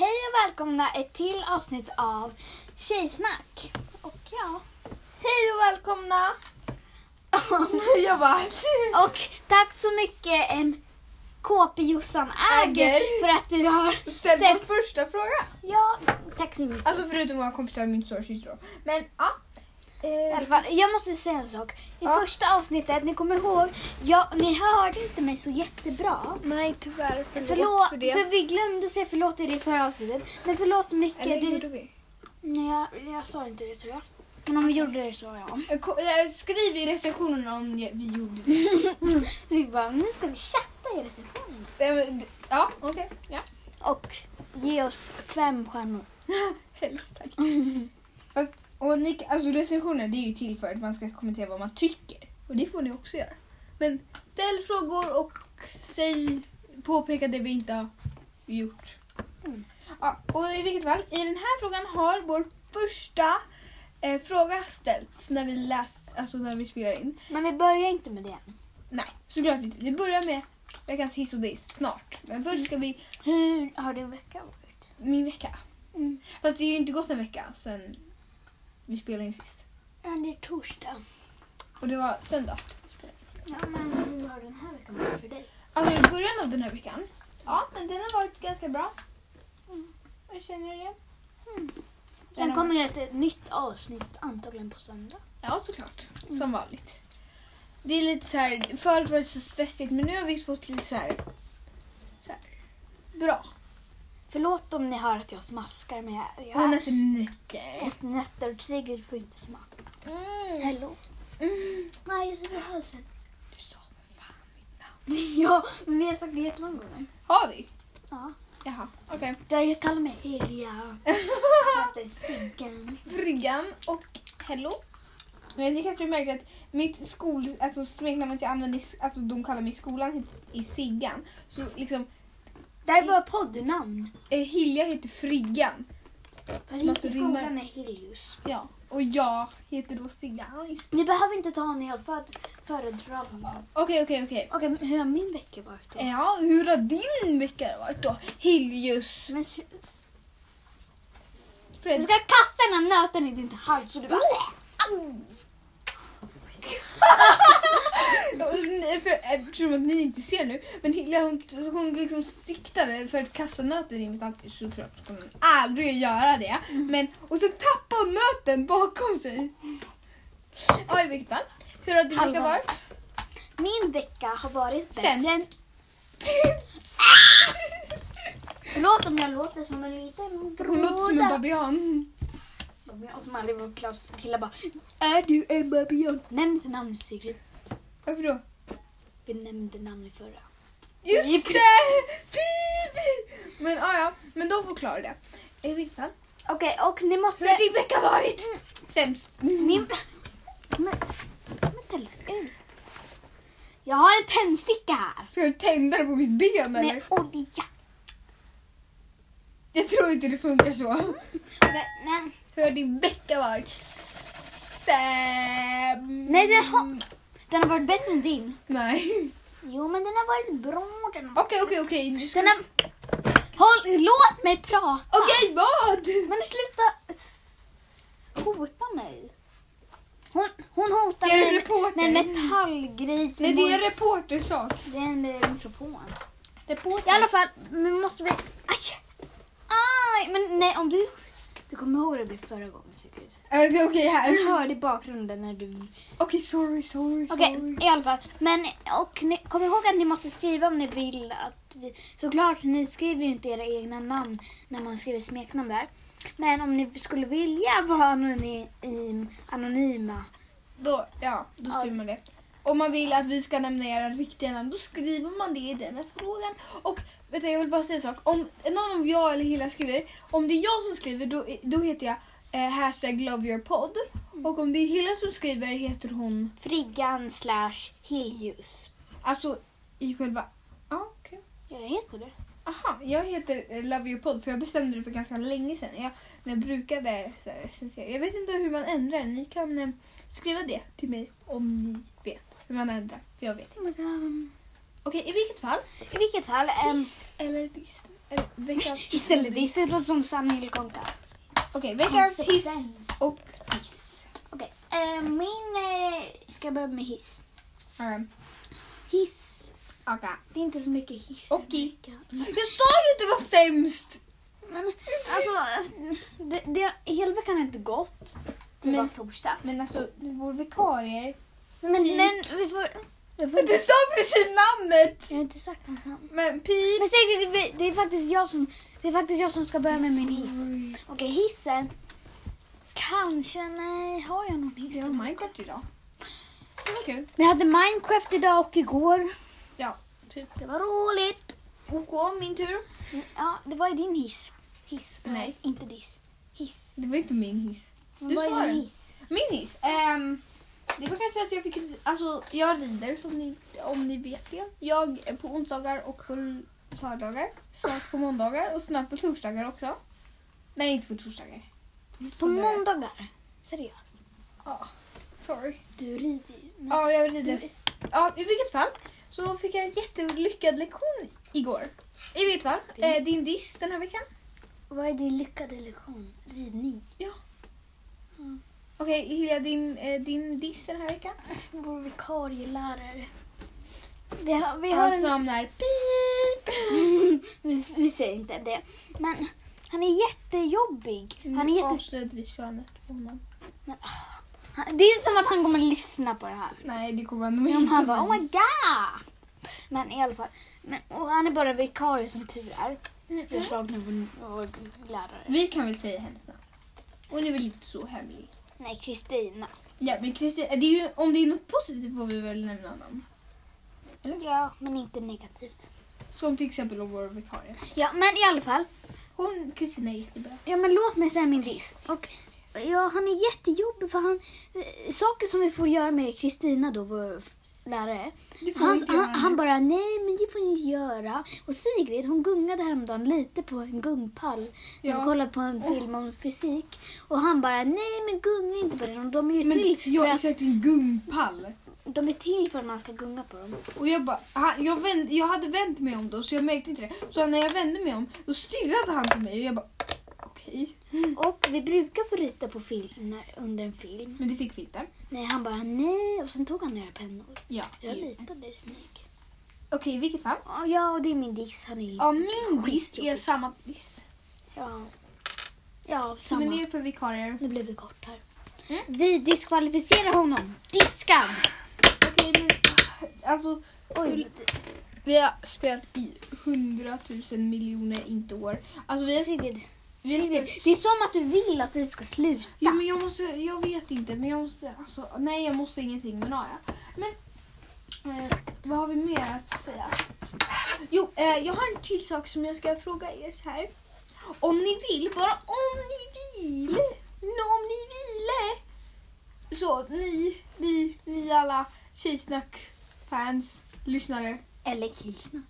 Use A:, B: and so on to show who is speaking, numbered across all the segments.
A: och välkomna ett till avsnitt av Tjejsnack. Och ja.
B: Hej och välkomna! Jag bara...
A: Och tack så mycket um, KP-Jossan Äger
B: Äger.
A: för att du har...
B: Ställ
A: Ställ-
B: vår första fråga.
A: Ja, tack så mycket.
B: Alltså förutom våra kompisar och min stora syster då. Men ja.
A: I alla
B: Eh,
A: fall, jag måste säga en sak. I
B: Ja.
A: första avsnittet, ni kommer ihåg, jag, ni hörde inte mig så jättebra.
B: nej tyvärr, förlåt,
A: Förlåt,
B: för
A: för,
B: det.
A: vi glömde säga förlåt i det förra avsnittet. Men förlåt mycket.
B: Eller
A: Det,
B: gjorde vi?
A: nej, jag, jag sa inte det tror jag. Men om vi gjorde det så ja.
B: Eh, ko- eh, Skriv i recensionen om ni- vi gjorde det.
A: Så vi bara, nu ska vi chatta i recensionen.
B: Eh, men d- Ja, okej. Ja.
A: Och ge oss fem stjärnor.
B: Helst tack. Fast, och ni, alltså recensioner det är ju till för att man ska kommentera vad man tycker. Och det får ni också göra. Men ställ frågor och säg, påpeka det vi inte har gjort.
A: Mm.
B: Ja, och i vilket fall, i den här frågan har vår första eh, fråga ställts när vi läs, alltså när vi spelar in.
A: Men vi börjar inte med det.
B: Nej, såklart inte. Vi börjar med veckans hiss och diss snart. Men först ska vi,
A: Hur har din vecka varit?
B: min vecka.
A: Mm.
B: Fast det är ju inte gått en vecka sedan vi spelade in sist.
A: Ja, det är torsdag.
B: Och det var söndag.
A: Ja, men hur har den här veckan varit för dig?
B: Alltså i början av den här veckan. Ja, men den har varit ganska bra.
A: Mm.
B: Jag känner det. Den
A: Sen
B: har-
A: kommer ju ett nytt avsnitt antagligen på söndag.
B: Ja, såklart. Som vanligt. Det är lite så här, förut var det så stressigt men nu har vi fått lite så här, så här bra.
A: Förlåt om ni hör att jag smaskar men jag, jag
B: Hon
A: är
B: äter nötter.
A: ett nötter och Sigrid får inte smaka.
B: Mm.
A: Hello.
B: Mm.
A: Nej, jag sitter i halsen.
B: Du sa för fan mitt namn.
A: ja, men vi har sagt det jättemånga gånger.
B: Har vi?
A: Ja.
B: Jaha, okej.
A: Jag kallar mig Helja. Jag heter Stiggan.
B: Friggan och Hello. Men ni kanske märker att mitt skol, alltså smeknamnet jag använder, i- alltså de kallar mig i skolan heter- i Siggan. Så liksom,
A: Det här var poddnamn.
B: eh, Hilja heter Friggan.
A: Fast
B: Som
A: i
B: att du rimmar.
A: skolan är Helius.
B: Ja. Och jag heter då Siggan.
A: Ni behöver inte ta en hel för- föredragning.
B: Okej, okej, okej.
A: Okej, men hur har min vecka varit då?
B: Eh, Ja, hur har din vecka varit då? Hiljus.
A: Men, s-
B: Fred.
A: jag ska kasta den här nöten i din hals så du bara...
B: Nej, för, eh, eftersom att ni inte ser nu, men Hilja hon, hon liksom siktade för att kasta nöten in i mitt ansikte såklart så kommer hon aldrig göra det. Men, och sen tappade hon nöten bakom sig. Ja, i vilket fall. Hur har din
A: Halva.
B: vecka varit?
A: Min vecka har varit bättre
B: Sämst.
A: än... Förlåt om jag låter som en liten
B: Hon låter som en
A: groda.
B: babian.
A: Och som aldrig var klass killar bara Är du en babian? Nämn inte namn Sigrid.
B: Varför då?
A: Vi nämnde namn i förra. Pip.
B: Just det! Pip! Men ja, ja, men då förklarar det. I vilket fall.
A: Okej, och ni måste...
B: Hur har din vecka varit? Sämst.
A: Ni... Men... Men tänd ut. Jag har en tändsticka här.
B: Ska du tända det på mitt ben eller?
A: Med olja.
B: Jag tror inte det funkar så.
A: Men, men
B: Hur har din vecka varit? Säm...
A: Nej, den har- den har varit bättre än din.
B: Nej.
A: Jo, men den har varit bra. Den har...
B: Okej, okej, okej. Ska
A: Den
B: vi-
A: har... Håll, låt mig prata.
B: Okej, vad?
A: Men sluta s- hota mig. Hon, hon hotar
B: Jag är
A: mig
B: reporter.
A: med en metallgrej. som
B: Nej, det är en
A: går-
B: reportersak.
A: det är en eh, mikrofon. I
B: Reporter.
A: alla fall, men måste vi... Aj! Aj! Men nej, om du... Du kommer ihåg hur det blev förra gången Sigrid.
B: Äh, Okej, här.
A: Jag hörde i bakgrunden när du...
B: Okej, sorry, sorry,
A: Okej,
B: sorry.
A: i alla fall. Men och ni, kom ihåg att ni måste skriva om ni vill att vi... Såklart, ni skriver ju inte era egna namn när man skriver smeknamn där. Men om ni skulle vilja vara anonym, anonyma.
B: Då, ja, då
A: Ja.
B: skriver man det. Om man vill att vi ska nämna era riktiga namn, då skriver man det i den här frågan. Och vet du, jag vill bara säga en sak. Om någon av jag eller Hilla skriver, om det är jag som skriver då, då heter jag eh, hashtag loveyourpod. Och om det är Hilla som skriver heter hon,
A: Friggan slash Helius.
B: alltså i själva... Ja, okej.
A: Jag heter det.
B: Aha, jag heter eh, Love Your Pod för jag bestämde det för ganska länge sedan. Jag, när jag brukade så här, recensera. Jag vet inte hur man ändrar. Ni kan eh, skriva det till mig om ni vet hur man ändrar. För jag vet.
A: Men, um,
B: Okej, i vilket fall.
A: I vilket fall. ehm,
B: Hiss eller diss? eh, veckans...
A: Istället, istället som Sanna Konka.
B: Okej, veckans hiss
A: Konsistens.
B: och...
A: Okej, eh, min... Eh, ska jag börja med hiss?
B: Okej.
A: Hiss. Det är inte så mycket hiss.
B: Okej. Jag sa ju att det var sämst!
A: Men alltså, det, det, hela veckan har inte gått. Det
B: Men-
A: var torsdag. Mm.
B: Men alltså, vår vikarie...
A: Men,
B: Pik.
A: men vi får... Vi får
B: Du sa precis namnet!
A: jag har inte sagt hans namn.
B: Men pip...
A: Men säkert, det, det, är faktiskt jag som, det är faktiskt jag som ska börja med min hiss. Okej, hissen. Kanske, nej, har jag någon hiss?
B: Vi har Minecraft idag. Det var kul.
A: Vi hade Minecraft idag och igår.
B: Ja, typ.
A: Det var roligt.
B: OK, min tur.
A: Ja, det var ju din hiss. Hiss.
B: Nej.
A: Inte diss. Hiss.
B: Det var inte min hiss. Du
A: Vad är
B: sa
A: din
B: den.
A: Hiss.
B: Min hiss? Ehm, det var kanske att jag fick... Alltså, jag rider som ni, om ni vet det. Jag är på onsdagar och på lördagar. Snart på måndagar och snart på torsdagar också. Nej, inte på torsdagar.
A: På
B: Sådär.
A: måndagar. Seriöst.
B: Ja, sorry.
A: Du rider ju. men-
B: Ja, jag rider. Ja, i vilket fall så fick jag en jättelyckad lektion igår. I vilket fall, eh, din diss den här veckan.
A: Vad är din lyckade lektion? Ridning.
B: Okej, Hilja, din, eh, din diss den här veckan.
A: Vår vikarielärare. Vi har, vi har
B: Hans
A: en
B: namn är Pip.
A: vi, vi säger inte det. Men han är jättejobbig. Han
B: Mm,
A: är jättes...
B: Avslöjade vid könet på honom.
A: han, det är som att han kommer lyssna på det här.
B: Nej, det kommer han nog
A: Om
B: inte.
A: han bara oh my god. Men i alla fall. Men, och han är bara vikarie som tur är. Jag saknar vår, vår lärare.
B: Vi kan väl säga hennes namn. Hon är väl inte så hemlig.
A: Nej, Kristina.
B: Ja, men Kristin, det är ju, om det är något positivt får vi väl nämna honom.
A: Ja, men inte negativt.
B: Som till exempel om vår vikarie.
A: Ja, men i alla fall.
B: Hon, Kristina är jättebra.
A: Ja, men låt mig säga min diss. Och, ja, han är jättejobbig för han... eh, Saker som vi får göra med Kristina då, vår f- lärare.
B: Det får vi
A: Han,
B: inte göra
A: han,
B: nu.
A: han bara, nej men det får ni inte göra. Och Sigrid hon gungade häromdagen lite på en gungpall. Ja.
B: Ja.
A: Vi kollade på en film om fysik. Och han bara, nej men gunga inte på den. Och De är ju
B: Men
A: till
B: jag
A: för
B: har
A: att,
B: exakt en gungpall.
A: de är till för att man ska gunga på dem.
B: Och jag bara, han, jag, vänd, jag hade vänt mig om då så jag märkte inte det. Så när jag vände mig om då stirrade han på mig och jag bara okej.
A: Och vi brukar få rita på film när, under en film.
B: Men det fick vi inte.
A: Nej han bara, nej. Och sen tog han några pennor.
B: Ja.
A: Jag
B: Okej,
A: litade i smyg.
B: i vilket fall.
A: Ja, Ja, och det är min diss. Han är ju...
B: Ja, min diss är
A: Skitjobbigt.
B: samma diss.
A: Ja, ja samma.
B: Som är ner för vikarier.
A: Nu blev det kort här.
B: Mm.
A: Vi diskvalificerar honom. Diskad!
B: Okej, men alltså
A: Oj,
B: vi har spelat i hundratusen miljoner, inte år. Alltså vi har...
A: Sigrid.
B: vi har
A: Sigrid,
B: spelat-
A: det är som att du vill att vi ska sluta.
B: Jo, men jag måste, jag vet inte, men jag måste, alltså, nej jag måste ingenting, men ja. ja. Men, eh, vad har vi mer att säga? Jo, eh, jag har en till sak som jag ska fråga er så här. Om ni vill, bara om ni vill, nå- om ni ville, så ni, ni, ni alla Tjejsnack-fans, lyssnare.
A: Eller killsnack.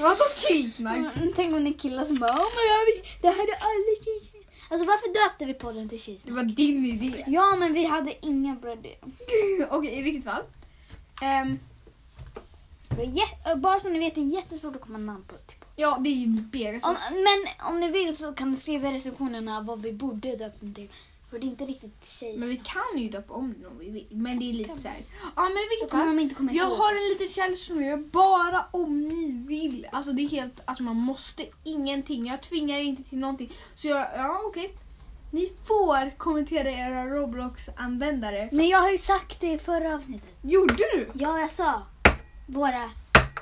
B: Vadå killsnack?
A: Mm, tänk om det är killar som bara oh my god, det här är alla tjejer. Alltså varför döpte vi podden till
B: Det
A: killsnack?
B: var din idé.
A: Ja, men vi hade inga bra idéer.
B: Okej, i vilket fall. Ehm,
A: Det var jä- Bara som ni vet, det är jättesvårt att komma namn på. Typ.
B: ja, det är ju Berit som
A: Om, men om ni vill så kan ni skriva i recensionerna vad vi borde döpt den till. För det är inte riktigt
B: Men vi
A: tjejsnack.
B: kan ju döpa om den om vi vill. Men det är lite
A: Kan
B: så här. Ja men i
A: Då
B: vilket
A: kommer
B: fall.
A: de inte komma
B: Jag
A: ihåg.
B: har en liten källsortering. Bara om ni vill. Alltså det är helt, alltså man måste ingenting. Jag tvingar er inte till någonting. Så jag, ja okej. Ni får kommentera era Roblox-användare.
A: Men jag har ju sagt det i förra avsnittet.
B: Gjorde du?
A: Ja, jag sa våra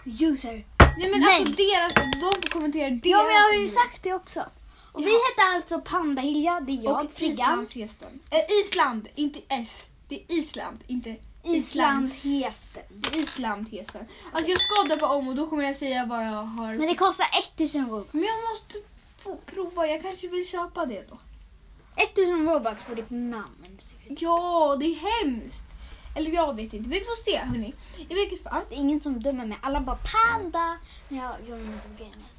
A: user.
B: Nej men
A: Nej.
B: alltså deras, de får kommentera deras.
A: Ja, men jag har ju sagt det också. Och vi
B: Ja.
A: hette alltså Panda Hilja, det är jag,
B: Och
A: Friggan,
B: islandshästen. Eh, Island, inte S. Det är Island, inte
A: Islandshästen.
B: det är Islandhästen. Alltså jag ska döpa om och då kommer jag säga vad jag har
A: Men det kostar 1000 robux.
B: Men jag måste få prova, jag kanske vill köpa det då.
A: 1000 robux för ditt namn. Sigrid.
B: Ja, det är hemskt. Eller jag vet inte, vi får se hörni. I vilket fall.
A: Det är ingen som dömer mig, alla bara Panda när jag gör något som gamer.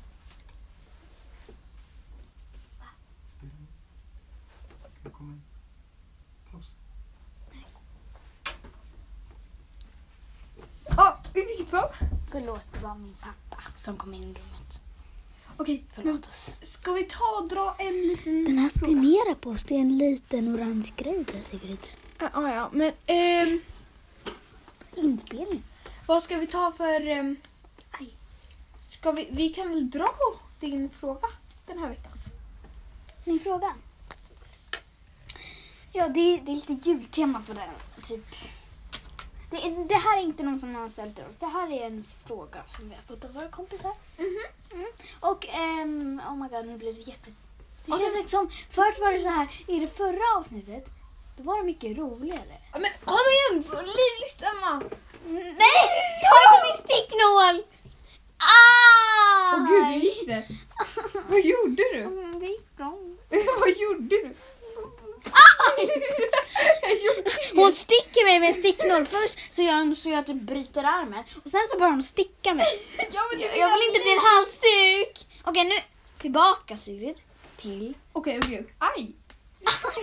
C: Nu kommer en paus.
B: Ja, i vilket fall.
A: Förlåt, det var min pappa som kom in i rummet.
B: Okej, men
A: Förlåt oss.
B: ska vi ta och dra en liten
A: Den här
B: fråga?
A: spionerar på oss. Det är en liten orange grej där Sigrid.
B: Ja, ja, ja, men ehm,
A: Inspelning.
B: vad ska vi ta för... ehm,
A: Aj.
B: ska vi, vi kan väl dra din fråga den här veckan?
A: Min fråga. Ja, det är, det är lite jultema på den. Typ. Det, är, det här är inte någon som någon har ställt till oss. Det här är en fråga som vi har fått av våra kompisar. Mm. Och ehm, oh my god, nu blev det jätte... Det
B: Okej.
A: känns liksom, förut var det så här, i det förra avsnittet, då var det mycket roligare.
B: Ja, Men kom igen! Livligt, Emma!
A: Nej! Jag har inte min sticknål! Ah!
B: Åh gud, hur gick det? Vad gjorde du?
A: Mm, Det gick bra.
B: Vad gjorde du? Jag gjorde
A: Hon sticker mig med en sticknål först så jag, så jag typ bryter armen och sen så börjar hon sticka mig.
B: Ja, men det är
A: Jag vill inte bli en halsduk! Okej nu, tillbaka Sigrid. Till.
B: Okej, okej. okej. Aj!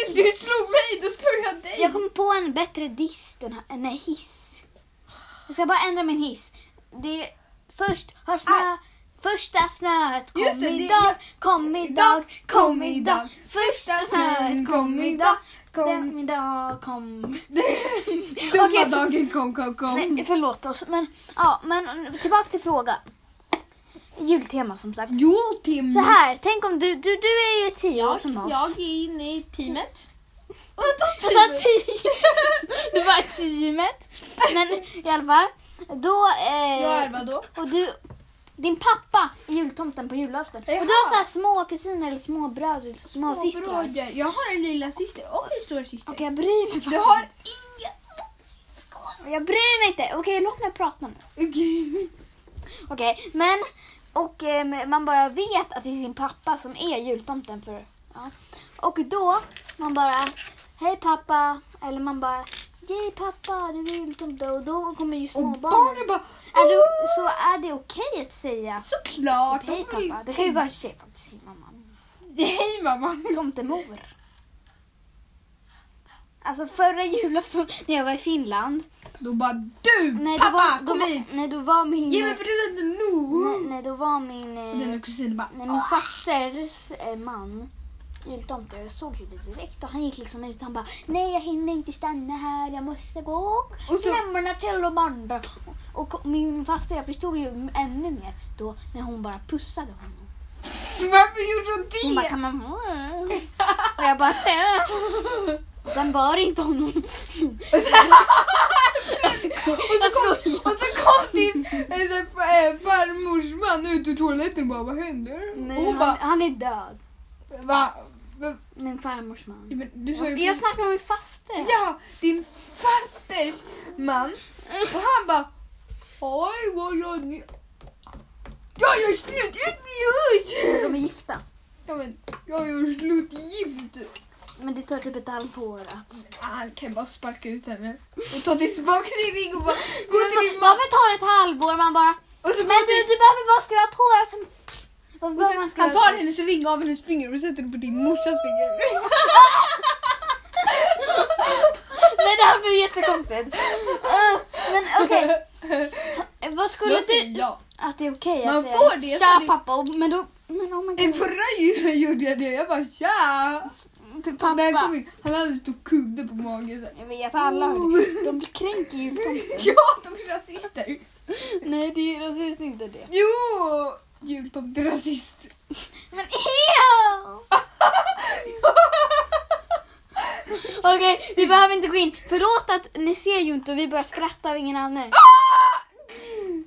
B: Du slog mig, då slog jag dig!
A: Jag kom på en bättre diss, den här, nej hiss. Jag ska bara ändra min hiss. Det är först har snö, första snöet kom
B: Just det, det-
A: idag,
B: jag-
A: kom idag, kom idag. Första snöet kom idag,
B: Kom.
A: kom idag, kom.
B: Dumma
A: Okej, för-
B: dagen kom, kom, kom.
A: Nej, förlåt oss. Men, ja, men tillbaka till frågan. Jultema som sagt.
B: Jo, Tim.
A: Så här, tänk om du, du, du är ju tio år
B: Jag,
A: som oss.
B: jag är inne i teamet. Och
A: Så sa
B: då teamet.
A: tio. Du var i teamet. Men i alla fall. Då, eh,
B: Jag är vadå?
A: och du, din pappa är jultomten på julafton. Och du har
B: Jaha.
A: så här små kusiner eller små bröder, eller små
B: Åh,
A: systrar. Okej,
B: bröder. Jag har en lilla syster och en stora syster.
A: jag bryr mig
B: Du
A: faktiskt
B: har inga...
A: Jag bryr mig inte. Okej, låt mig prata nu.
B: Okej.
A: Okej, men och eh, man bara vet att det är sin pappa som är jultomten för ja. Och då man bara hej pappa eller man bara Yay pappa, du är jultomte och då kommer ju
B: Och
A: småbarnen.
B: barnen bara...
A: Är det, så är det okej att säga
B: Såklart.
A: typ, hej
B: de vill
A: pappa? Det kan ju vara en tjej faktiskt, hej mamma.
B: Hej mamma.
A: Tomtemor. Alltså förra julafton när jag var i Finland.
B: Då bara du
A: Nej, då
B: pappa
A: var, då,
B: kom
A: var-
B: hit.
A: Nej, då var min...
B: Ge mig presenten nu.
A: nej, nej, då var min... eh,
B: Och Den kusinen bara...
A: Nej, min fasters eh, man, jultomte, jag såg ju det direkt och han gick liksom ut. Han bara, nej jag hinner inte stanna här, jag måste gå.
B: Och så-
A: Klämmorna till de andra. Och min faster, jag förstod ju ännu mer då när hon bara pussade honom.
B: Varför gjorde hon
A: Hon bara,
B: det?
A: kan man få? Och jag bara, "Tä." Och sen var det inte honom. Jag skojar.
B: Och så, kom, och så kom din eh, så, eh, farmors man ut ur toaletten och bara vad händer?
A: Nej,
B: och hon
A: han,
B: bara
A: han är död.
B: va? va?
A: Min farmors man.
B: Men Du sa ju
A: Jag snackar med min faster.
B: ja, din fasters man. Och han bara oj vad jag ni- jag gör slut
A: De
B: utomhus!
A: är gifta.
B: Ja men jag gör slut gift.
A: Men det tar typ ett halvår att...
B: Han kan ju bara sparka ut henne och ta tillbaka sin ring och bara gå
A: Men
B: till din
A: va-
B: mamma.
A: varför tar det ett halvår? Man bara...
B: Och så
A: Men
B: går
A: du,
B: till,
A: du behöver bara skriva på och sen... Varför
B: och
A: behöver man Mm.
B: så,
A: skriva
B: han tar
A: på?
B: hennes ring av hennes finger och sätter den på din morsas finger.
A: Nej, det här blir jättekonstigt. Eh, men okej, vad skulle
B: Jag
A: du...
B: säger ja.
A: Att det är okej
B: Man
A: att säga
B: får det, så
A: Tja
B: det-
A: pappa, och, men då... Men oh my
B: I
A: god.
B: förra julen gjorde jag det. Jag bara tja!
A: Till pappa.
B: När han kom in, han hade en stor kudde på magen. så här.
A: Jag vet, alla hör det. De blir kränker ju.
B: Ja, de är rasister!
A: Nej, det är
B: alltså,
A: rasistiskt inte det.
B: Jo! Jultomte är rasist.
A: Men ew! Okej, vi behöver inte gå in. Förlåt att ni ser ju inte och vi börjar skratta av ingen annan.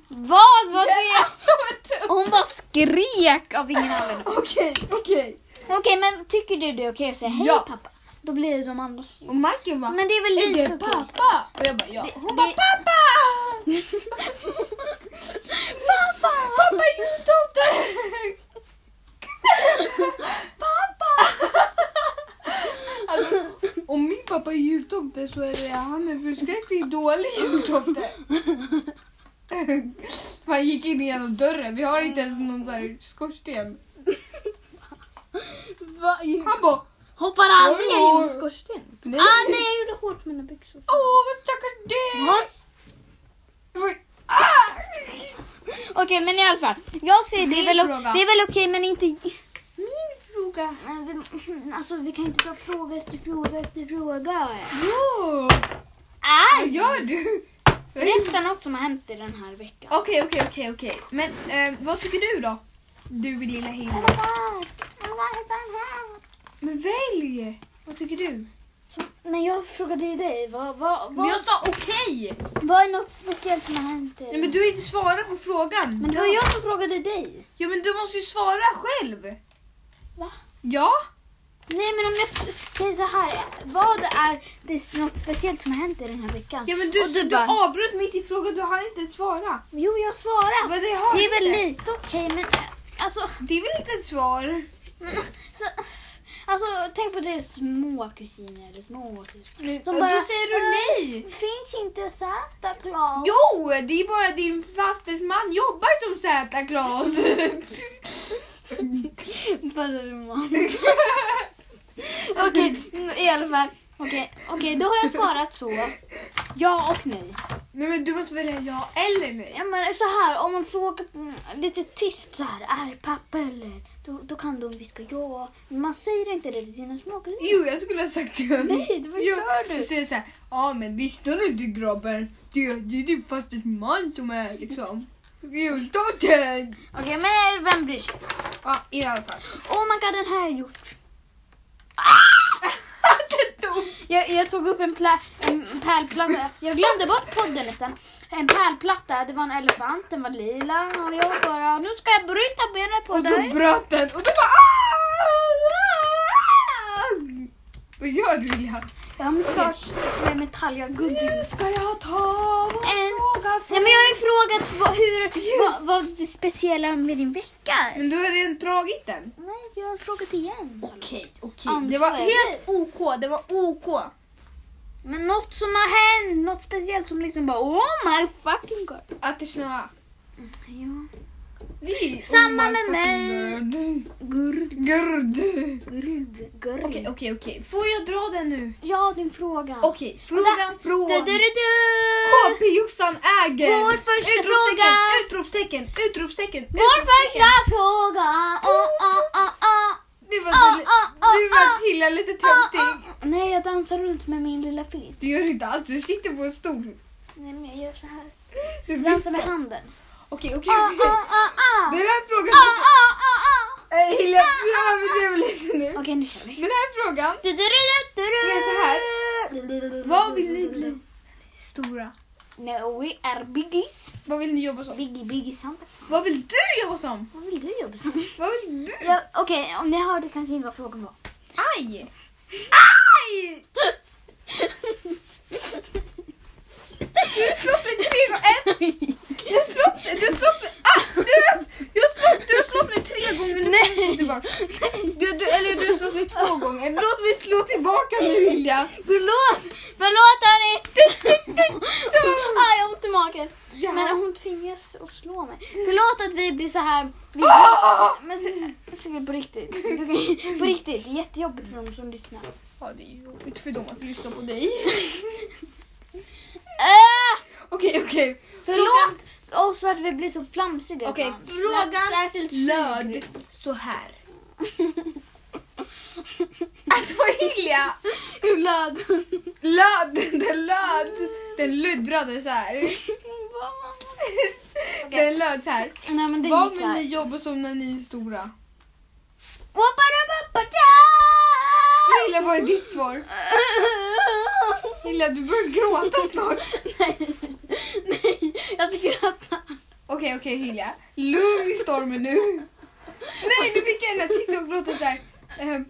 A: Vad? Vad
B: Ah! Jag
A: det?
B: är som en tupp.
A: Och hon bara skrek av ingen anledning.
B: Okej, okej.
A: Okej, men tycker du det är okej att säga hej
B: Ja.
A: pappa? Då blir de andra
B: Och Majken bara,
A: Men det är väl
B: är
A: lite
B: det
A: okej?
B: pappa? Och jag bara ja.
A: Det-
B: Hon bara
A: det-
B: pappa!
A: Pappa!
B: Pappa är jultomte! pappa! Alltså, om min pappa är jultomte så är det han en förskräckligt dålig jultomte. Han gick in genom dörren. Vi har inte ens någon så här skorsten.
A: Va?
B: Han bara
A: Hoppade aldrig
B: Oj,
A: ner
B: oj.
A: genom skorstenen?
B: nej.
A: Ah, nej, jag gjorde hårt med mina byxor.
B: Åh vad stackars dig!
A: Vad?
B: Det var- Ah!
A: Okej, men i alla fall. Jag säger det
B: Min
A: är väl, o-
B: fråga.
A: det är väl okej, men inte...
B: Min fråga.
A: Men vi, alltså, vi kan inte ta fråga efter fråga efter fråga.
B: Jo! Vad
A: Aj!
B: gör du?
A: Berätta något som har hänt i den här veckan.
B: Okej, okej, okej, okej. Men eh, vad tycker du då? Du lilla Hilda. Men välj! Vad tycker du?
A: Men jag frågade ju dig, vad, vad,
B: Men
A: vad,
B: jag sa okej!
A: vad är något speciellt som har hänt?
B: Nej men du har inte svarat på frågan.
A: men det var jag som frågade dig.
B: Ja men du måste ju svara själv.
A: Va?
B: Ja.
A: Nej men om jag s- säger så här, vad är det något speciellt som har hänt i den här veckan?
B: Ja men du,
A: Och
B: du,
A: bara,
B: avbröt mitt i frågan, du hann inte ens svara.
A: Jo jag svarar.
B: Vad det, har
A: Det är väl
B: inte.
A: lite okej men äh, alltså,
B: Det är väl inte ett svar?
A: men, så, alltså tänk på deras små kusiner eller små syskon.
B: De
A: bara-
B: Då säger Mm, du nej.
A: Finns inte Santa Claus?
B: Jo, det är bara din fasters man jobbar som Santa Claus.
A: Okej, mm, i alla fall. Okej, okej, då har jag svarat så. Ja och nej.
B: nej men du måste välja ja eller nej.
A: Ja, men så här, om man frågar mm, lite tyst så här, är det pappa eller? Då, då kan de viska ja. Men man säger inte det till sina småkusiner.
B: Jo, jag skulle ha sagt ja.
A: Nej, då förstör
B: Du
A: du.
B: säger såhär, ja men visste du inte grabben? Det, det är din fasters man som är liksom jultomten.
A: Okej, men vem bryr sig?
B: Ja, i alla fall.
A: Oh my god, den här har jag gjort.
B: Det tog
A: Jag, jag tog upp en, pla- en pärlplatta. Jag glömde bort podden nästan. En pärlplatta, det var en elefant, den var lila och jag bara, nu ska jag bryta benet på
B: Och då
A: dig.
B: bröt den och då bara "Ah!" Vad gör du Lilla?
A: Jag har mustasch med metall, jag har guld i
B: Nu ska jag ta vår
A: En-
B: fråga för...
A: Nej men jag har ju frågat vad, hur, vad, vad är det speciella med din vecka?
B: Men du har redan dragit den.
A: Nej, jag har frågat igen.
B: Okej, okej.
A: Anders,
B: Det var
A: vad är
B: helt OK, det var OK.
A: Men något som har hänt, något speciellt som liksom bara oh my fucking god.
B: Att det snöade.
A: Ja.
B: Det är-
A: Samma
B: my
A: med
B: fucking
A: mig.
B: God.
A: Gurd,
B: Gud.
A: gurd, gurd.
B: Okej, okej, okej. Får jag dra den nu?
A: Ja, din fråga.
B: Okej, frågan från...
A: Du, du, du, du.
B: KP Jossan äger!
A: Vår första fråga.
B: utropstecken, Utropstecken, utropstecken,
A: Vår
B: utropstecken!
A: första fråga. Oh, oh, oh, oh.
B: Du var,
A: Ah,
B: till,
A: ah, ah,
B: du var
A: ah.
B: till lite töntig.
A: Oh, oh. Nej, jag dansar runt med min lilla filt.
B: Du gör inte allt, du sitter på en stol.
A: Nej, men jag gör så här.
B: Du
A: Jag
B: viftar.
A: dansar med handen.
B: Okej, okej,
A: Ah,
B: okej.
A: ah, ah, ah.
B: Den här frågan...
A: Ah, ah, ah, ah.
B: Eh, Hilja, du överdrev lite nu.
A: Okej, nu kör vi.
B: Den här frågan
A: Du, du, du, du, du.
B: är så här. Vad vill ni bli? Stora.
A: No, we are biggies.
B: Vad vill ni jobba som?
A: Biggie, biggie, Santa.
B: Vad vill du jobba som?
A: Vad vill du jobba som?
B: Vad vill du?
A: Ja, Okej, om ni hörde kanske inte vad frågan var.
B: Aj! Aj! Du slog med tre gånger... Du slog... Du slog med... Ah, du, jag slog, du slog med tre gånger nu. Nej. Tillbaka. Du, du, eller du slog med två gånger. Låt mig slå tillbaka nu Hilja.
A: Förlåt! Förlåt hörni!
B: Så.
A: ah, jag har ont i magen.
B: Ja.
A: Men hon tvingas att slå mig. Förlåt att vi blir så här... Vi
B: Ah!
A: Men så, så, på riktigt. På riktigt, det är jättejobbigt för de som lyssnar.
B: Ja, det är ju jobbigt för dem att lyssna på dig.
A: Äh,
B: Okej, okej.
A: förlåt oss för att vi blir så flamsiga
B: Okej,
A: ibland.
B: frågan
A: Särskilt
B: Löd så här. Alltså Hilja!
A: Hur löd?
B: Löd, den löd. Den luddrade så här.
A: Okej.
B: Den löd så här.
A: Nej men det
B: Vad
A: gick
B: vill ni
A: såhär.
B: jobba som när ni är stora? Lilla, vad är ditt svar? Lilla, du börjar gråta snart.
A: Nej, nej, jag skrattar.
B: Okej, okej Hilja. Lugn i stormen nu. Nej, nu fick jag den här TikTok-låten så här. Ehm,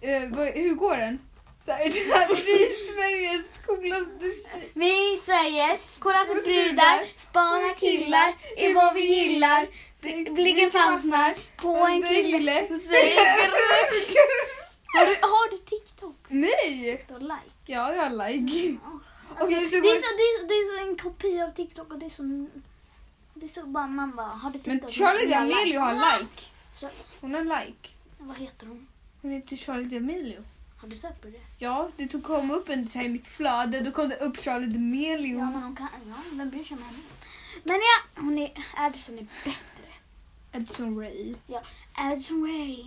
B: eh, vad- hur går den? Så här, den här, vi i Sveriges coolaste tjej-
A: Vi i Sveriges coolaste brudar spanar killar är vad vi gillar. Bl- Blicken fastnar på en kille. Säger- Har du, har du TikTok?
B: Nej!
A: Då like.
B: Ja, jag har like. Okej,
A: Det
B: så
A: är,
B: går
A: så, det, är så, det är så en kopia av TikTok och det är så... Det är så bara, man bara, har du TikTok?
B: Men Charlie D'Amelio har like.
A: Så-
B: Hon har like.
A: Vad heter hon?
B: Hon heter Charlie D'Amelio.
A: Har du sett på det?
B: Ja, det tog, kom upp en så här i mitt flöde. Då kom det upp Charlie D'Amelio.
A: Ja, men hon kan, ja, vem bryr sig om henne? Men ja, hon är, Addison är bättre.
B: Edson Ray.
A: Addison Ray.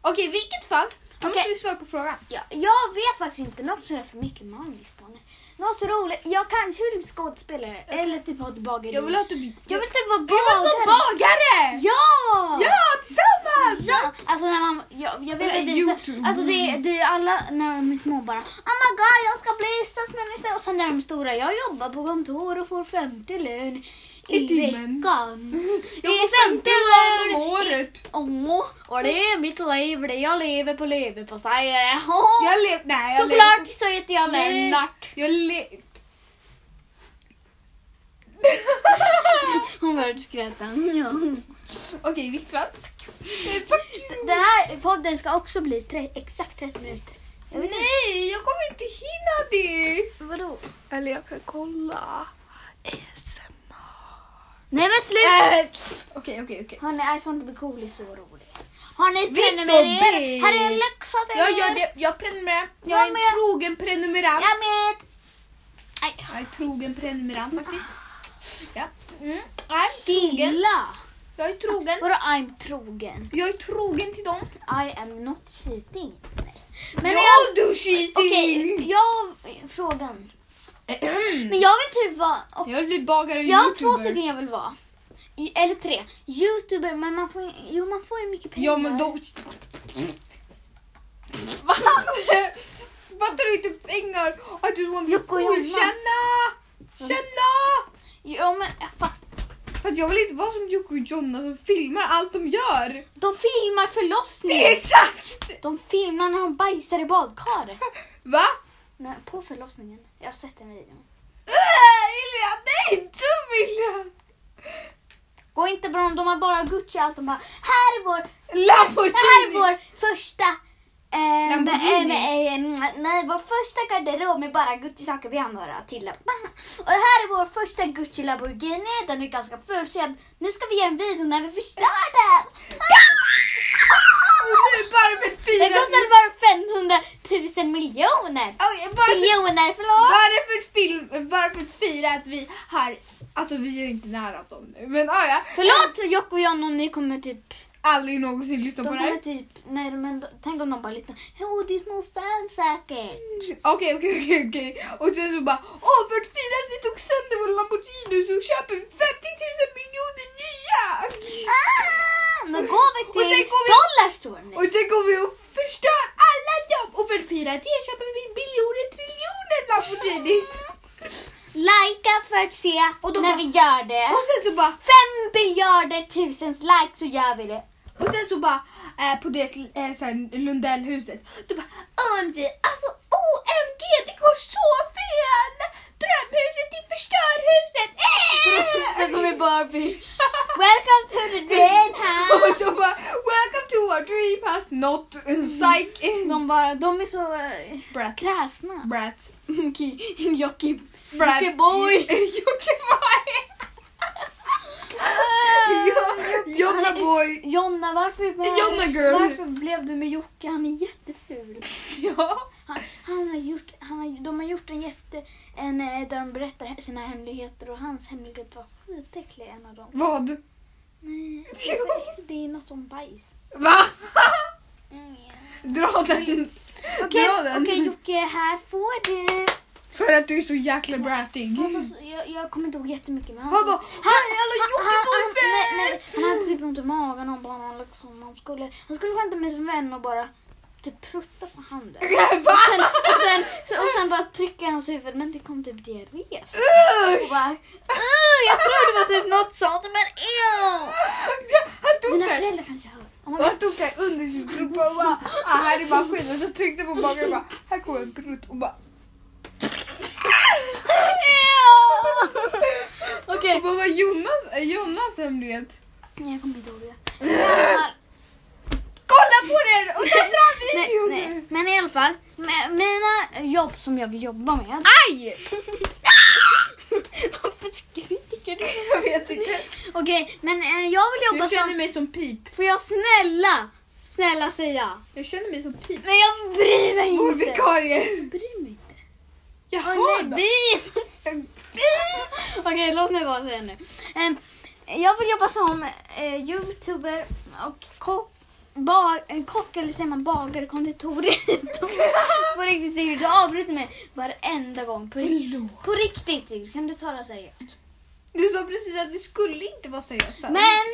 B: Okej, i vilket fall. Nu
A: Okej.
B: måste vi svara på frågan.
A: Ja, jag vet faktiskt inte något som jag är för mycket manus på nu. Något roligt. Jag kanske vill bli skådespelare eller typ ha ett bageri.
B: Jag vill att du...
A: jag vill typ vara
B: Jag vill
A: bagare.
B: vara bagare!
A: Ja!
B: Ja, tillsammans!
A: Ja, alltså när man, jag, jag vet
B: Det är
A: att det är så,
B: YouTube.
A: alltså det, är- det är alla när de är små bara Oh my god jag ska bli statsminister och sen när de är stora jag jobbar på kontor och får 50 lön i,
B: I timmen.
A: veckan.
B: Jag
A: Det
B: får
A: är
B: 50
A: 50
B: lön om
A: lön.
B: året.
A: Åh, och det är mitt liv, det jag lever på leverpastej.
B: Jag lev... Nej, jag
A: Såklart så heter jag
B: Nej.
A: Lennart.
B: Jag le...
A: Hon började skratta. Ja.
B: Okej, i vilket fall. Eh, Fuck you.
A: Den här podden ska också bli tre, exakt 30 minuter. Jag vet inte,
B: Nej, jag kommer inte hinna det.
A: vadå?
B: Eller jag kan kolla. ASMR.
A: Nej men sluta!
B: Eh, Okej, okej, okej.
A: Hörni, I want to be cool är så rolig. Har ni
B: Victor
A: prenumererat?
B: B.
A: Här är en läxa till
B: Jag
A: er.
B: gör det. Jag prenumererar. Jag
A: Ja,
B: är en
A: men jag-
B: trogen prenumerant.
A: Jag med. Aj.
B: Jag är trogen prenumerant faktiskt. Ja. Mm. trogen.
A: Chilla.
B: Jag är trogen.
A: Vadå I'm trogen?
B: Jag är trogen till dem.
A: I am not cheating. Nej.
B: Men
A: Men
B: ja,
A: jag...
B: du cheating!
A: Okej, jag... Frågan. Men jag vill typ vara... och-
B: Jag vill bli bagare och
A: Jag har
B: youtuber.
A: två stycken jag vill vara. I- Eller tre. Youtuber, men man får, ju- jo, man får ju mycket pengar.
B: Ja men då... Va? Fattar du inte pengar? I just want to be
A: Jocke och
B: cool.
A: Jonna.
B: Känna! Känna!
A: Ja, men eh, jag fattar.
B: För att jag vill inte vara som Jocke och Jonna som filmar allt de gör.
A: De filmar
B: Det är
A: förlossningen.
B: exakt!
A: De filmar när de bajsar i badkaret.
B: Va?
A: Nej, på förlossningen. Jag har sett den videon.
B: Äh, Ilja, nej! Dum Ilja!
A: Gå inte på dem, de har bara Gucci allt. De bara, här är vår, det här är
B: Lamborghini!
A: vår första... Eh,
B: Lamborghini.
A: eh, eh, nej, vår första garderob med bara Gucci-saker. Vi har några till. Och det här är vår första Gucci Lamborghini. Den är ganska ful så jag, nu ska vi göra en video när vi förstör den.
B: Och nu är Barbet
A: Den
B: fyra...
A: kostade bara 500 000 miljoner.
B: Oj, Barbet
A: Miljoner, förlåt.
B: Varför, film, varför fira att vi har... Alltså vi är inte nära dem nu. Men ah, ja,
A: Förlåt Jocke och John om ni kommer typ...
B: aldrig någonsin lyssna
A: De
B: på det
A: kommer
B: här.
A: typ... Nej, men tänk om de bara lyssnar. Åh, det är små fans säkert.
B: Okej, okej, okej, okej. Och sen så bara, åh för att fira att vi tog sönder vår Lamborghini så köper vi 50 000 miljoner nya!
A: Nu Ah, går vi
B: Och sen
A: till
B: går vi-
A: Dollarstore nu.
B: Och sen går vi och förstör alla dem! Och för att fira det köper vi miljoner triljoner Lamborghinis!
A: Likea för att se
B: Och då
A: när
B: bara-
A: vi gör det.
B: Och sen så bara,
A: Fem biljarder tusens likes så gör vi det.
B: Och sen så bara eh, på det eh, så här, Lundellhuset. Du bara OMG, alltså OMG det går så fel! Drömhuset till förstörhuset!
A: Sen
B: Eh!
A: kommer Barbie. Welcome to the dream house.
B: Och de bara Welcome to our dream house not psych
A: De, bara, de är så eh,
B: brat.
A: kräsna.
B: Brat.
A: Jocke.
B: Brat.
A: Jockiboi.
B: Jockiboi! Jo- Jonna boy!
A: Jonna, varför,
B: Jonna girl.
A: varför blev du med Jocke? Han är jätteful.
B: Ja.
A: Han, han har gjort, han har, de har gjort en jätte... En, eh, där de berättar sina hemligheter och hans hemlighet var skitäcklig, en av dem.
B: Vad?
A: Nej, det- det är något om bajs.
B: Va?
A: Mm.
B: Dra den!
A: Okej,
B: Dra den!
A: okej, Jocke, här får du.
B: För att du är så jäkla bratig.
A: Han var så- Jag, jag kommer inte ihåg jättemycket men
B: Han bara hej alla
A: nej, nej,
B: Jockiboi-fans!
A: han hade typ ont i magen och bara liksom, han skulle, han skulle skämta med sin vän och bara typ prutta på handen.
B: Va?
A: Och sen, och sen, så- och sen bara trycker han hans huvud men det kom typ diarré. Så- Och
B: Usch!
A: bara, "Ugh, jag trodde det var typ något sånt men ew!
B: Han tog
A: Mina
B: den!
A: föräldrar kanske hör. Oh my
B: Och
A: God.
B: han tog den under sin strumpa och bara ah, här är maskinen och så tryckte på magen och bara här kommer en prutt och bara
A: Ew! Okej,
B: och vad var Jonas, eh, Jonas hemlighet?
A: nej jag kommer inte ihåg det.
B: Kolla på den och ta fram
A: Nej,
B: videon!
A: nej. Men i alla fall, med mina jobb som jag vill jobba med.
B: Aj!
A: Ah! Varför skriker du?
B: Jag vet inte.
A: Okej, men eh, jag vill jobba
B: Jag känner
A: som...
B: mig som pip.
A: Får jag snälla? Snälla säga.
B: Jag känner mig som pip.
A: Men jag bryr mig
B: Vår
A: inte.
B: vikarie.
A: Jag bryr mig inte.
B: Jaha
A: Åh nej,
B: då.
A: beep! Okej, låt mig bara säga nu. Ehm, jag vill jobba som eh, youtuber och kock. Ba- eh, kock eller säger man bagare, konditoriet. på riktigt Sigrid, du avbryter mig varenda gång. På, ri-
B: Förlåt.
A: på riktigt Sigrid, kan du tala seriöst?
B: Du sa precis att vi skulle inte vara seriösa.
A: Men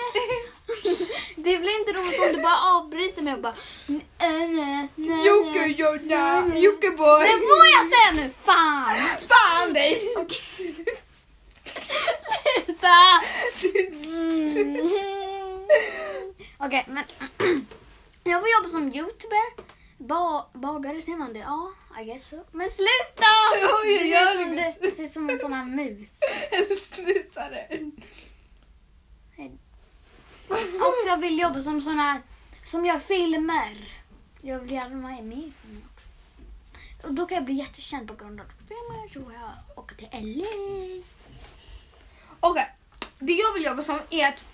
A: det blir inte roligt om du bara avbryter mig och bara... "N- eh, nej, nej,
B: Jocke,
A: nej."
B: Jonna, Jockeboy.
A: Det får jag säga nu, fan!
B: Fan dig!
A: Sluta! Mm. Okej, men jag får jobba som youtuber. Ba bagare, ser man det? Ja, I guess so. Men sluta!
B: Oj,
A: det,
B: jag
A: ser ut som,
B: gör
A: det ser ut som en sån här mus.
B: En snusare.
A: Och så jag vill jobba som sån här som gör filmer. Jag vill gärna vara med i filmer också. Och då kan jag bli jättekänd på grund av filmer. Så jag åker till LA.
B: Okej, det jag vill jobba som är att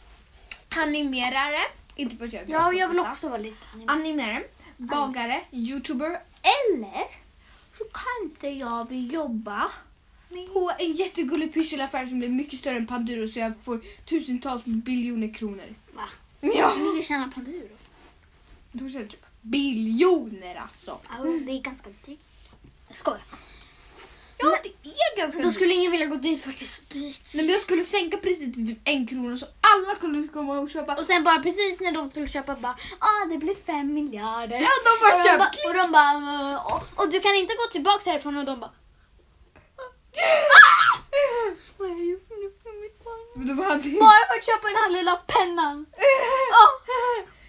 B: animerare. Inte för att jag
A: Ja, och jag vill också vara lite animerad.
B: Animerare, bagare, youtuber eller så kanske jag vill jobba på en jättegullig pysselaffär som blir mycket större än Panduro så jag får tusentals biljoner kronor.
A: Va?
B: Ja,
A: Hur mycket tjänar Panduro?
B: då känner jag typ biljoner alltså.
A: Ja, det är ganska dyrt. Jag skojar.
B: Ja, det är ganska
A: Då skulle ingen vilja gå dit för att det är så dyrt.
B: Nej, men jag skulle sänka priset till typ en krona så alla kunde komma och köpa.
A: Och sen bara precis när de skulle köpa bara, ah det blir fem miljarder.
B: Ja, de
A: Och
B: bara
A: de,
B: köp.
A: ba, och de bara, "Mm, och, och du kan inte gå tillbaka härifrån och de bara, vad har jag gjort nu för mitt barn?
B: Men de hade inte...
A: Bara för att köpa den här lilla pennan. Åh,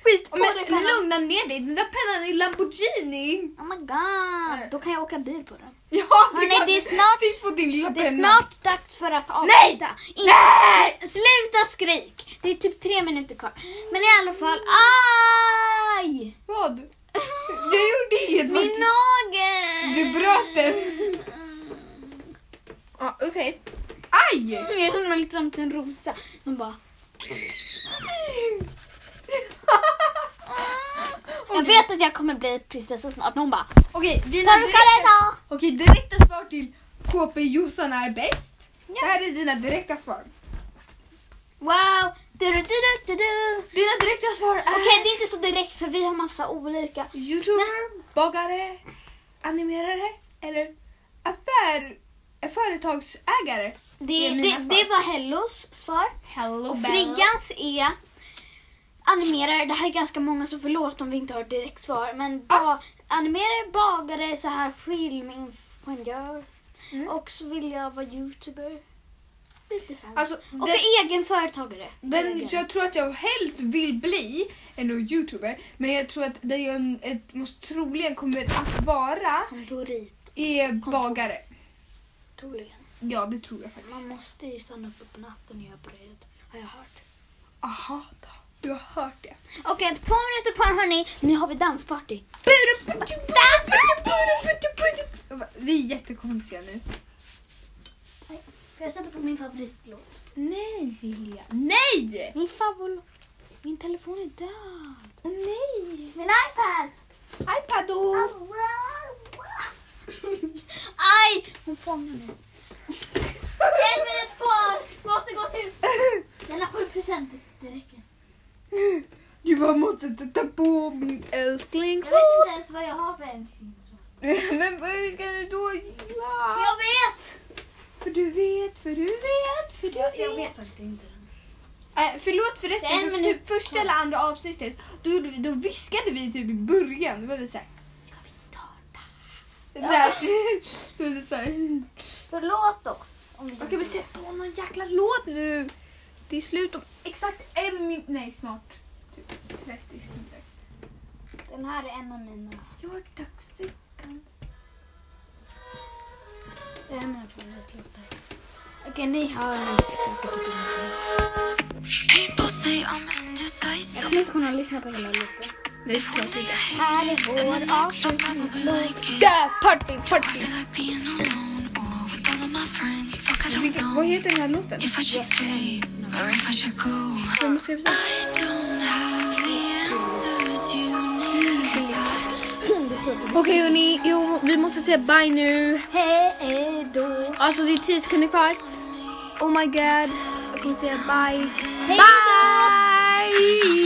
A: skit på
B: Men
A: dig pennan.
B: lugna ner dig, den där pennan är Lamborghini.
A: Oh my god, då kan jag åka bil på den.
B: Ja,
A: Hörni,
B: kan-
A: det är snart-
B: Tyst på din lilla
A: Det är
B: penna.
A: snart dags för att avsluta. Nej! Nej! Sluta skrik! Det är typ tre minuter kvar. Men i alla fall, aj!
B: Vad? Jag gjorde inget
A: Min
B: faktiskt.
A: nagel! Mm.
B: Du bröt den. Ja, okej. Aj!
A: Jag känner mig lite som en rosa som bara... Jag vet att jag kommer bli prinsessa snart. Hon bara...
B: Okej, dina direkta,
A: Torkade
B: okej, direkta svar till KP Jossan är bäst. Det här är dina direkta svar.
A: Wow! Du, du, du, du, du.
B: Dina direkta svar är...
A: Okej, det är inte så direkt för vi har massa olika.
B: Youtuber, bagare, animerare eller affär, företagsägare.
A: Det,
B: är
A: det,
B: mina
A: det,
B: svar.
A: var Hellos svar.
B: Hello
A: Och
B: Bella.
A: Friggans är animerare. Det här är ganska många så förlåt om vi inte har ett direkt svar. Men
B: Ah.
A: ba, animerare, bagare, så här filmingenjör.
B: Mm.
A: Och så vill jag vara youtuber. Lite så här.
B: Alltså,
A: och
B: den,
A: för egen företagare.
B: den,
A: Egen.
B: jag tror att jag helst vill bli en youtuber men jag tror att det jag en- ett, måste troligen kommer att vara
A: Kontorit,
B: är bagare.
A: troligen.
B: Ja, det tror jag faktiskt.
A: Man måste ju stanna uppe på natten och göra bröd. Har jag hört.
B: Aha, då. du har hört det.
A: Okej, två minuter kvar hörni. Nu har vi dansparty.
B: Vi är jättekonstiga nu.
A: Får jag sätta på min favoritlåt?
B: Nej, Vilja. Nej!
A: Min favoritlåt. Min telefon är död.
B: Åh, nej!
A: Min iPad.
B: Ipado!
A: Aj! Hon fångar mig. En minut kvar! Måste gå till... Den har 7 procent. Det räcker.
B: Jag måste titta på min älskling.
A: Jag vet inte ens vad jag har för en.
B: Men hur ska du då gilla?
A: Jag vet!
B: För du vet, för du vet, för du vet.
A: faktiskt inte.
B: Eh, förlåt
A: Det är en
B: förresten, för
A: minut
B: typ första eller andra avsnittet då, gjorde vi- då viskade vi typ i början. Det var lite såhär.
A: Ska vi starta?
B: Ja. Det var lite så här.
A: Förlåt oss. Om vi
B: Okej men sätt på någon jäkla låt nu. Det är slut om exakt en minut, nej snart typ 30 sekunder.
A: Den här är en av mina.
B: Your toxic
A: Det här är mina favoritlåtar. Okej, ni hör inte säkert ingenting.
D: People say I'm indecisive.
A: Jag kommer inte kunna lyssna på hela låten.
B: Det är klart
D: Only I
B: inte.
D: hate
A: Här är vår
D: I'll probably
A: avslutningslåt.
D: like it.
B: Yeah, party, party!
D: Feel like being alone or with all of my friends. Fuck, I
B: Vilka,
D: don't
B: vad
D: know
B: heter den här låten?
D: if I should stay or if I should go.
B: Vem ska jag säga?
D: I don't have the answers you
B: Okej hörni, jo, vi måste säga bye nu.
A: Hej då.
B: Alltså det är 10 sekunder kvar. Oh my god. Jag kommer säga bye.
A: Hej då.
B: Bye!